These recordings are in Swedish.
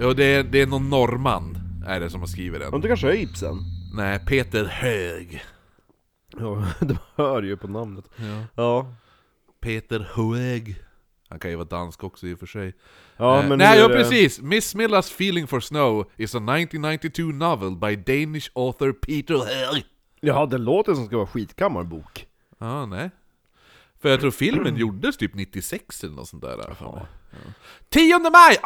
Jo, det är, det är någon norrman är det som har skrivit den. Undrar kanske är Ibsen? Nej, Peter Hög. Ja, de hör ju på namnet. Ja. Ja. Peter Hög. Han kan ju vara dansk också i och för sig. Ja, Eh, men nej, hur ja är det? precis! Miss Millas Feeling for Snow is a 1992 novel by Danish author Peter Hög. Jaha, det låter som ska vara skitkammarbok. Ja, nej. För jag tror filmen gjordes typ 96 eller något sånt där. har jag för mig. Ja. 10 maj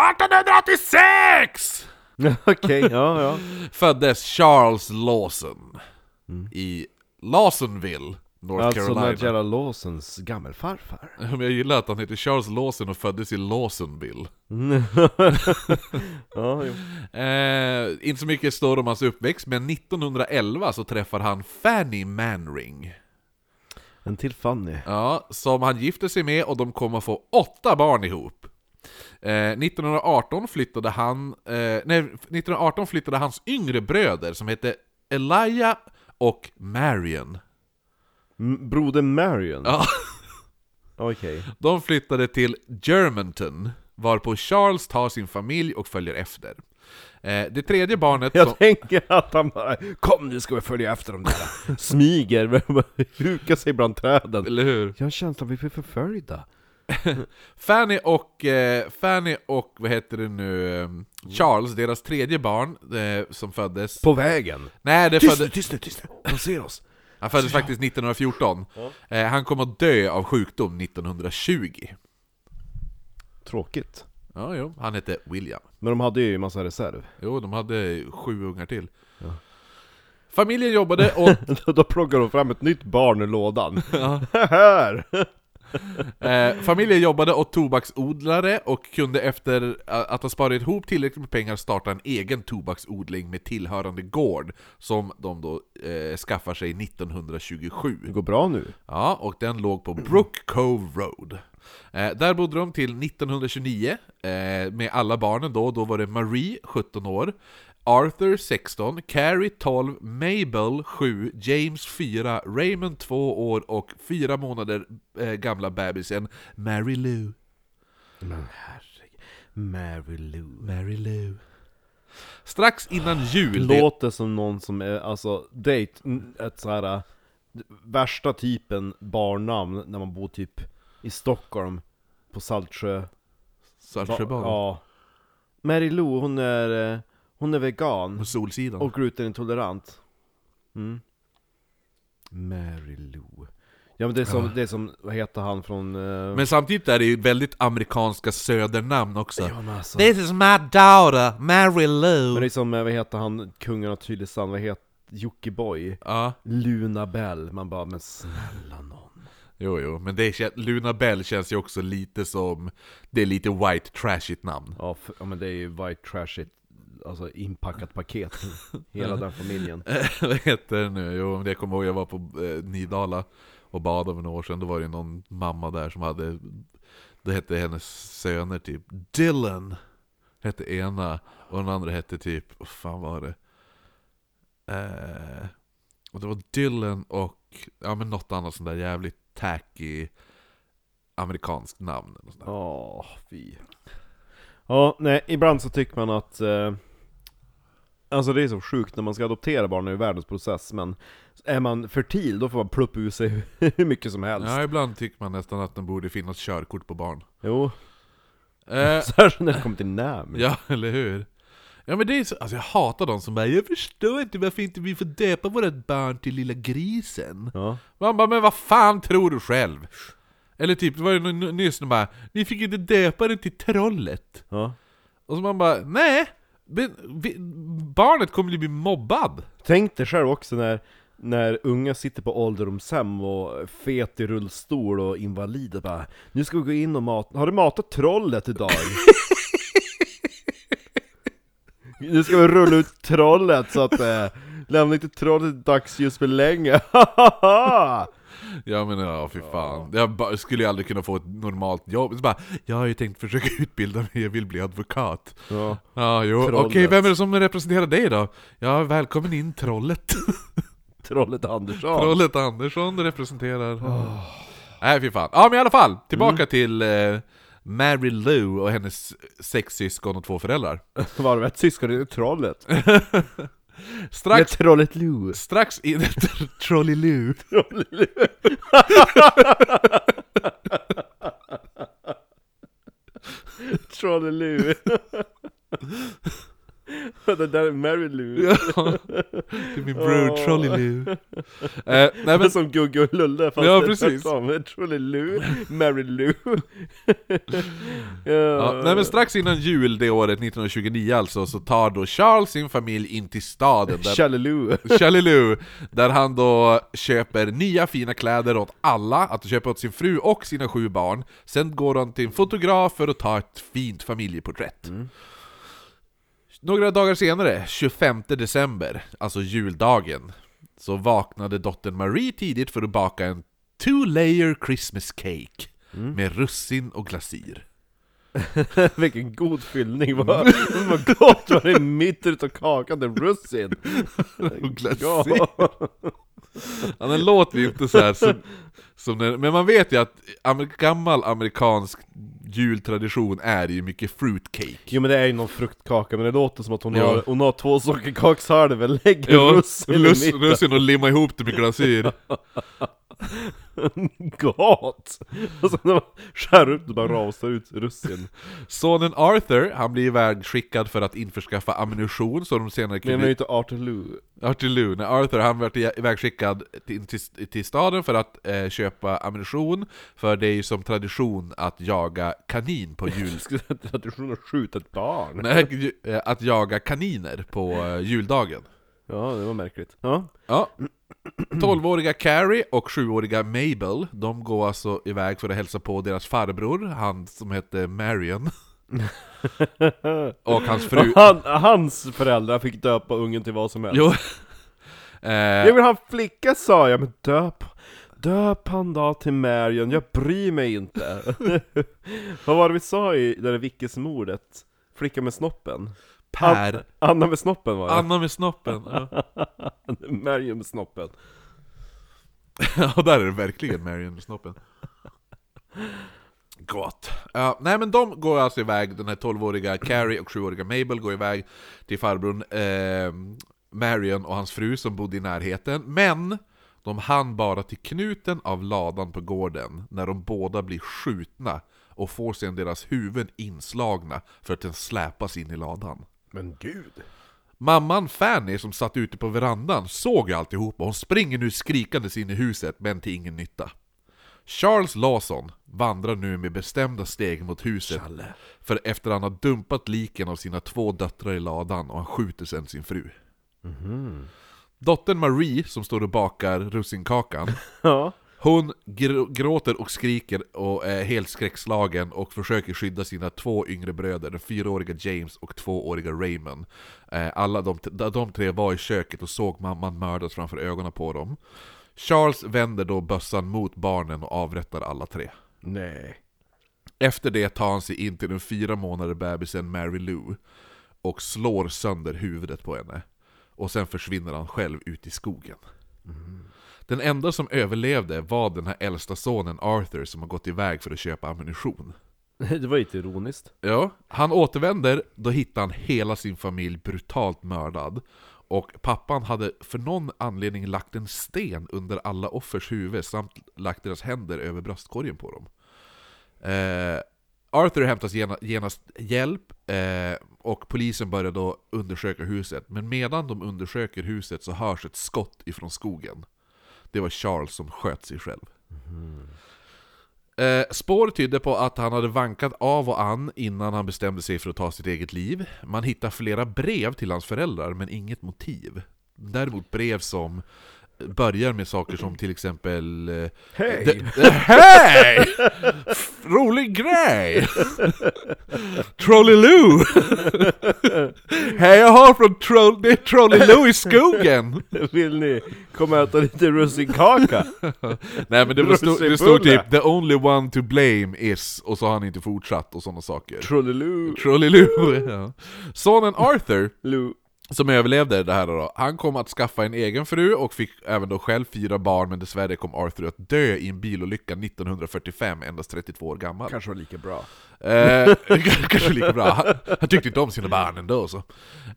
1886! Okej, ja, ja. Föddes Charles Lawson i Lawsonville, North Mm. Alltså Carolina. Nigella Lawsons gammelfarfar. Men jag gillar att han heter Charles Lawson och föddes i Lawsonville. Ja, jo. Eh, inte så mycket står om hans uppväxt, men 1911 så träffar han Fanny Manring. En till Fanny. Ja, som han gifter sig med och de kommer få åtta barn ihop. Eh, 1918 flyttade han, eh, nej, 1918 flyttade hans yngre bröder som hette Elia och Marion. M- Broder Marion? Ja. Okej. De flyttade till Germanton, varpå Charles tar sin familj och följer efter. Eh, det tredje barnet Jag som... tänker att han bara 'Kom nu ska vi följa efter dem där' Smyger, hukar sig bland träden. Eller hur? Jag har en känsla av att vi blir förföljda. Fanny och, eh, Fanny och vad heter det nu, eh, Charles, deras tredje barn eh, som föddes... På vägen. Nej, det Tyst nu, födde, tyst nu, tyst nu! De ser oss! han föddes faktiskt 1914. Eh, han kom att dö av sjukdom 1920. Tråkigt. Ja, jo. Han hette William. Men de hade ju en massa reserv. Jo, de hade sju ungar till. Familjen jobbade och Då- Då plockar de fram ett nytt barn ur lådan. Här! Eh, familjen jobbade åt tobaksodlare och kunde efter eh, att ha sparat ihop tillräckligt med pengar starta en egen tobaksodling med tillhörande gård som de då eh, skaffar sig 1927. Det går bra nu. Ja, och den låg på Brook Cove Road. Eh, där bodde de till 1929, eh, med alla barnen då. Då var det Marie, 17 år, Arthur, 16, Carrie, 12, Mabel, 7, James, 4, Raymond, 2 år och fyra månader eh, gamla bebisen Mary Lou. Men herregud. Mary Lou. Mary Lou. Strax innan jul... det- Låter som någon som är, alltså, date, n- ett så här äh, värsta typen barnnamn när man bor typ i Stockholm, på Saltsjö. Saltsjöbaden. Ja. Mary Lou, hon är, eh, hon är vegan På Solsidan. och glutenintolerant. Mm. Mary Lou. Ja men det är som, det är som vad heter han från... eh, Men samtidigt är det ju väldigt amerikanska södernamn också. ja, men alltså. This is my daughter, Mary Lou. Men det är som, eh, vad heter han, kungen av Tylösand, vad heter Jockiboi? Ja, Luna Bell, man bara men snälla nån. jo jo, men det kän- Luna Bell känns ju också lite som, det är lite white trashigt namn. Ja, f- ja men det är ju white trashigt, alltså inpackat paket, hela den familjen. Eh, Vad heter det nu? Jo, men det kommer jag ihåg, jag var på eh, Nidala och badade för några år sedan, då var det ju någon mamma där som hade, det hette hennes söner typ, Dylan hette ena, och den andra hette typ, vad fan var det? Eh, och det var Dylan och, ja men något annat sånt där jävligt tacky amerikanskt namn. Eller sånt där. Ja, fy. Ja, nej, ibland så tycker man att eh, Alltså det är så sjukt när man ska adoptera barn, det är ju världens process, men är man fertil då får man pluppa ur sig hur mycket som helst. Ja, ibland tycker man nästan att det borde finnas körkort på barn. Jo, Eh, särskilt när det kommer till namn. ja, eller hur? Ja men det är så, alltså jag hatar de som bara 'Jag förstår inte varför inte vi får döpa vårt barn till lilla grisen' Ja. Man bara 'Men vad fan tror du själv?' Eller typ, det var ju n- nyss de bara 'Ni fick inte döpa den till trollet' ja. Och så man bara 'Nej, men vi, barnet kommer ju bli mobbad' Tänk dig själv också när, när unga sitter på ålderdomshem och fet i rullstol och invalid och bara Nu ska vi gå in och mata, har du matat trollet idag? nu ska vi rulla ut trollet så att eh, lämna inte trollet i dagsljus för länge, Jag menar, ja fy fan. Jag ba- skulle ju aldrig kunna få ett normalt jobb. Så bara, jag har ju tänkt försöka utbilda mig, jag vill bli advokat. Ja. Ja, jo. Okej, Trollet. vem är det som representerar dig då? Ja, välkommen in trollet. Trollet Andersson. Trollet Andersson representerar... Nej fy fan. Ja men i alla fall, tillbaka till eh, Mary Lou och hennes sex syskon och två föräldrar. Varvet syskon, det är trollet. Det är Strax, trollet Lou. strax in... Trolly Lou. Trollet Lou. det där är Mary Lou. Ja. Det är min bror Trolly Lou. Eh, nej men, Som Gugge och Lulle fast Ja, det är precis. tvärtom. Trollet Lou, Mary Lou. ja. ja, nej men strax innan jul det året, 1929 alltså, så tar då Charles sin familj in till staden där Tjallaloo. Chalilou, där han då köper nya fina kläder åt alla, att köpa åt sin fru och sina sju barn. Sen går han till en fotograf för att ta ett fint familjeporträtt. Mm. Några dagar senare, 25 december, alltså juldagen, så vaknade dottern Marie tidigt för att baka en two layer Christmas cake med russin och glasyr. Vilken god fyllning, vad, vad gott var det mitt utav kakan, det är russin! Och glasyr! Ja. Ja, den låter ju inte så här som, som den, Men man vet ju att amer, gammal amerikansk jultradition är ju mycket fruitcake. Jo men det är ju någon fruktkaka, men det låter som att hon, Ja. har, hon har två sockerkakshalvor, lägger russin i russin, mitten! russin och limma ihop det med glasyr. Gott! Och sen när man skär upp det bara rasar ut russin Sonen Arthur, han blir ivägskickad för att införskaffa ammunition så de senare Men kunde... jag är ju inte Arteloo Artillu, när Arthur han vart i- ivägskickad till, till, till staden för att eh, köpa ammunition, för det är ju som tradition att jaga kanin på jul. Jag skulle säga att traditionen att skjuta ett barn Nej, ju- eh, att jaga kaniner på eh, juldagen. Ja, det var märkligt Ja, Ja. 12-åriga Carrie och 7-åriga Mabel, de går alltså iväg för att hälsa på deras farbror, han som hette Marion. och hans fru. Han, hans föräldrar fick döpa ungen till vad som helst Jo. Jag Eh, vill ha en flicka sa jag, men döp Döp han då till Marion, jag bryr mig inte Vad var det vi sa i det där Vickesmordet? Flicka med snoppen? per. An- Anna med snoppen var det Anna med snoppen. Ja. Marion med snoppen ja, där är det verkligen Marion med snoppen. Gott. Ja, nej men de går alltså iväg, den här 12-åriga Carrie och 7-åriga Mabel går iväg till farbrorn eh, Marion och hans fru som bodde i närheten. Men de hann bara till knuten av ladan på gården när de båda blir skjutna och får sedan deras huvuden inslagna för att den släpas in i ladan. Men gud Mamman Fanny som satt ute på verandan såg ju alltihop och hon springer nu skrikandes in i huset men till ingen nytta. Charles Lawson vandrar nu med bestämda steg mot huset för efter han har dumpat liken av sina två döttrar i ladan och han skjuter sen sin fru. Dottern Marie som står och bakar russinkakan Ja hon gr- gråter och skriker och är helt skräckslagen och försöker skydda sina två yngre bröder, den fyraåriga James och tvååriga Raymond. Eh, Alla de, t- de tre var i köket och såg mamman mördas framför ögonen på dem. Charles vänder då bössan mot barnen och avrättar alla tre. Nej Efter det tar han sig in till den fyra månader bebisen Mary Lou och slår sönder huvudet på henne. Och sen försvinner han själv ut i skogen. Den enda som överlevde var den här äldsta sonen Arthur som har gått iväg för att köpa ammunition. Det var inte ironiskt Ja, han återvänder, då hittar han hela sin familj brutalt mördad. Och pappan hade för någon anledning lagt en sten under alla offers huvud samt lagt deras händer över bröstkorgen på dem. Eh, Arthur hämtas gena- genast hjälp eh, och polisen börjar då undersöka huset. Men medan de undersöker huset så hörs ett skott ifrån skogen. Det var Charles som sköt sig själv. Eh, spår tydde på att han hade vankat av och an innan han bestämde sig för att ta sitt eget liv. Man hittar flera brev till hans föräldrar, men inget motiv. Däremot brev som börjar med saker som till exempel... eh, Hej! d- d- Hej! Rolig grej! Trolliloo! Hej jag har från troll, det är Trolliloo i skogen! Vill ni komma och äta lite russinkaka? Nej men det, var stod, det stod Russinbulle. typ 'The only one to blame is' och så har han inte fortsatt och sådana saker. Trolliloo! Trolliloo! Ja. Sonen Arthur Loo. som överlevde det här då, han kom att skaffa en egen fru och fick även då själv fyra barn men dessvärre kom Arthur att dö i en bilolycka 1945, endast 32 år gammal. Kanske var lika bra. Eh, kanske lika bra. Han, han tyckte inte om sina barn ändå så.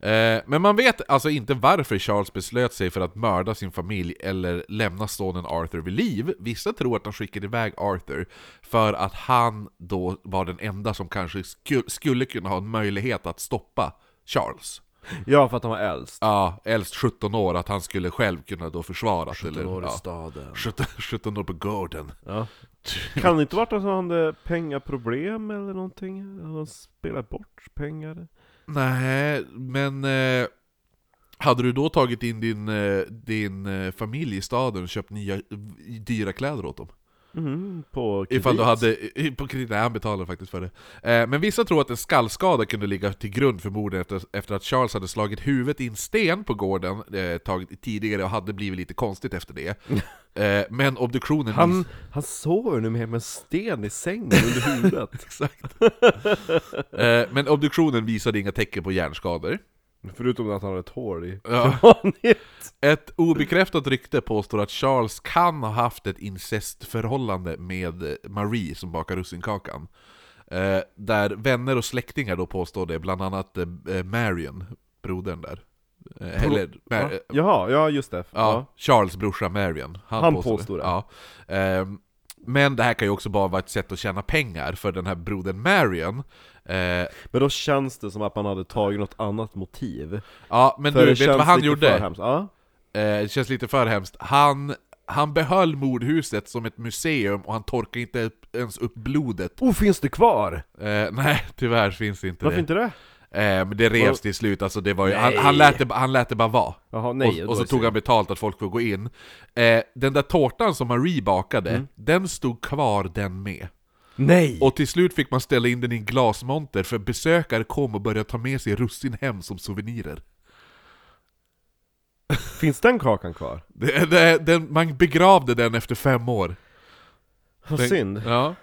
Eh, men man vet alltså inte varför Charles beslöt sig för att mörda sin familj eller lämna sonen Arthur vid liv. Vissa tror att han skickade iväg Arthur för att han då var den enda som kanske sku, skulle kunna ha en möjlighet att stoppa Charles. Ja, för att han var äldst. Ja, äldst 17 år, att han skulle själv kunna då försvara sig. eller- Norr i ja. staden. 17, 17 år på gården. Ja. Kan det inte varit att han hade pengaproblem eller någonting? Att han spelat bort pengar? Nej, men eh, hade du då tagit in din, eh, din eh, familj i staden och köpt nya v- dyra kläder åt dem? Mhm, på kredit. Ifall du hade, i- på kredit, nej han betalade faktiskt för det. Eh, men vissa tror att en skallskada kunde ligga till grund för morden efter, efter att Charles hade slagit huvudet i en sten på gården eh, tagit, tidigare och hade blivit lite konstigt efter det. Eh, men obduktionen... Han, han sover nu med en sten i sängen under huvudet. Exakt. eh, men obduktionen visade inga tecken på hjärnskador. Förutom att han har ett hål i Ja. kraniet. Ett obekräftat rykte påstår att Charles kan ha haft ett incestförhållande med Marie som bakar russinkakan. Eh, där vänner och släktingar då påstår det, bland annat eh, Marion, brodern där. Eh, eller, Mar- Ja. ja. Jaha, ja just det. Charles brorsa Marion. Han, Han påstår, påstår det. det. Ja. Ehm, men det här kan ju också bara vara ett sätt att tjäna pengar för den här brodern Marion. Eh, Men då känns det som att man hade tagit något annat motiv. ja, men För du, det vet du känns vad han lite gjorde? för hemskt. Ja. Eh, det känns lite för hemskt. Han, han behöll mordhuset som ett museum och han torkade inte upp- ens upp blodet. Oh, finns det kvar? Eh, nej, tyvärr finns inte Varför det. inte det? Eh, men det Vadå? revs till slut, alltså det var ju, han, Nej. han, lät det, ba- han lät det bara vara. Jaha, nej. och, och då är så det tog han synd. betalt att folk får gå in. Eh, den där tårtan som Marie bakade, Mm. den stod kvar den med. Nej! Och till slut fick man ställa in den i en glasmonter för besökare kom och började ta med sig russin hem som souvenirer. Finns den kakan kvar? Det, det, den, man begravde den efter fem år. Vad Tänk- synd. Ja.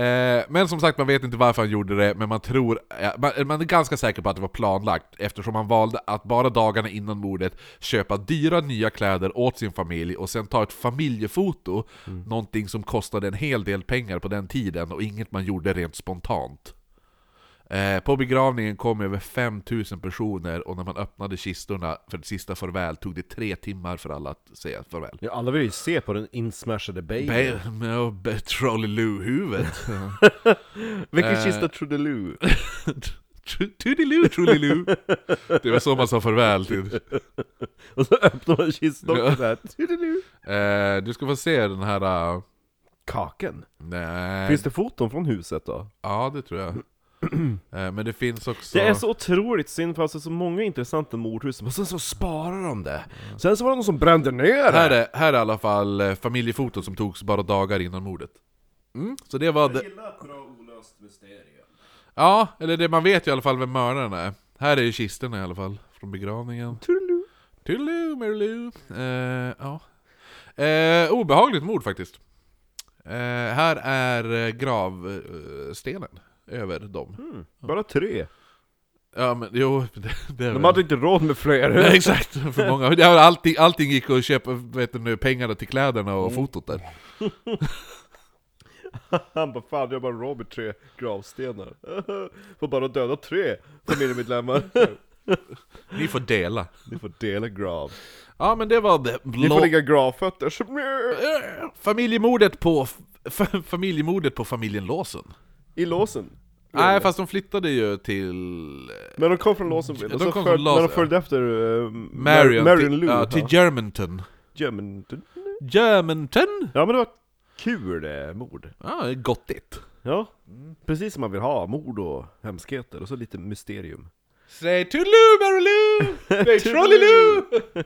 Eh, men som sagt, man vet inte varför han gjorde det, men man tror... eh, Man, man är ganska säker på att det var planlagt, eftersom han valde att bara dagarna innan mordet köpa dyra nya kläder åt sin familj och sen ta ett familjefoto, Mm. någonting som kostade en hel del pengar på den tiden och inget man gjorde rent spontant. Eh, på begravningen kom över 5000 personer och när man öppnade kistorna för ett sista farväl tog det tre timmar för alla att säga farväl. Ja, alla vill ju se på den insmashade babyn. Be- med- be- Trolliloo-huvudet. Vilken Eh. kista Trudeloo? Tr- Toodiloo, trolliloo. Det var så man sa farväl till. Och så öppnar man kistan Ja. och såhär, Trudeloo! Eh, du ska få se den här... eh, Kaken? nej. Finns det foton från huset då? Ja, det tror jag. Eh, men det finns också... Det är så otroligt synd för alltså så många intressanta mordhus, men sen så sparar de det! Sen så var det någon som brände ner Här det! är, här är i alla fall eh, familjefoton som togs bara dagar innan mordet. Mm, så det var... Det, gillar ett bra olöst mysterium. ja, eller det man vet ju i alla fall vem mördaren är. Här är ju kistorna i alla fall, från begravningen. Trudeloo! Toodiloo, Mariloo. Eh, ja. Eh, obehagligt mord faktiskt. Eh, här är eh, gravstenen över dem. Mm. Bara tre. Ja men jo, det, det är De väl- hade inte råd med fler. Nej, exakt, för många. Det var Allting, allting gick att köpa vet du, nu, pengarna till kläderna Mm. och fotot där. Han bara fan, jag bara Robert tre gravstenar. Får bara döda tre familjemedlemmar. Ni får dela. Ni får dela grav. Ja men det var det. Ni Lo- får ligga gravfötter. Eh, Familjemordet på, f- familjemordet på familjen Lawson. I låsen. Nej fast de flyttade ju till eh, Men de kom från Lawsonville, De och så kom föl- från Lawson, när de följde efter uh, Marion, till, Lou ja, ja, till Germanton. ja, men, Germanton? ja men det var ett kul eh, mord Ja, det är gottigt. Ja, precis som man vill ha, mord och hemskheter och så lite mysterium Säg Toodaloo Mariloo! Säg Trolliloo!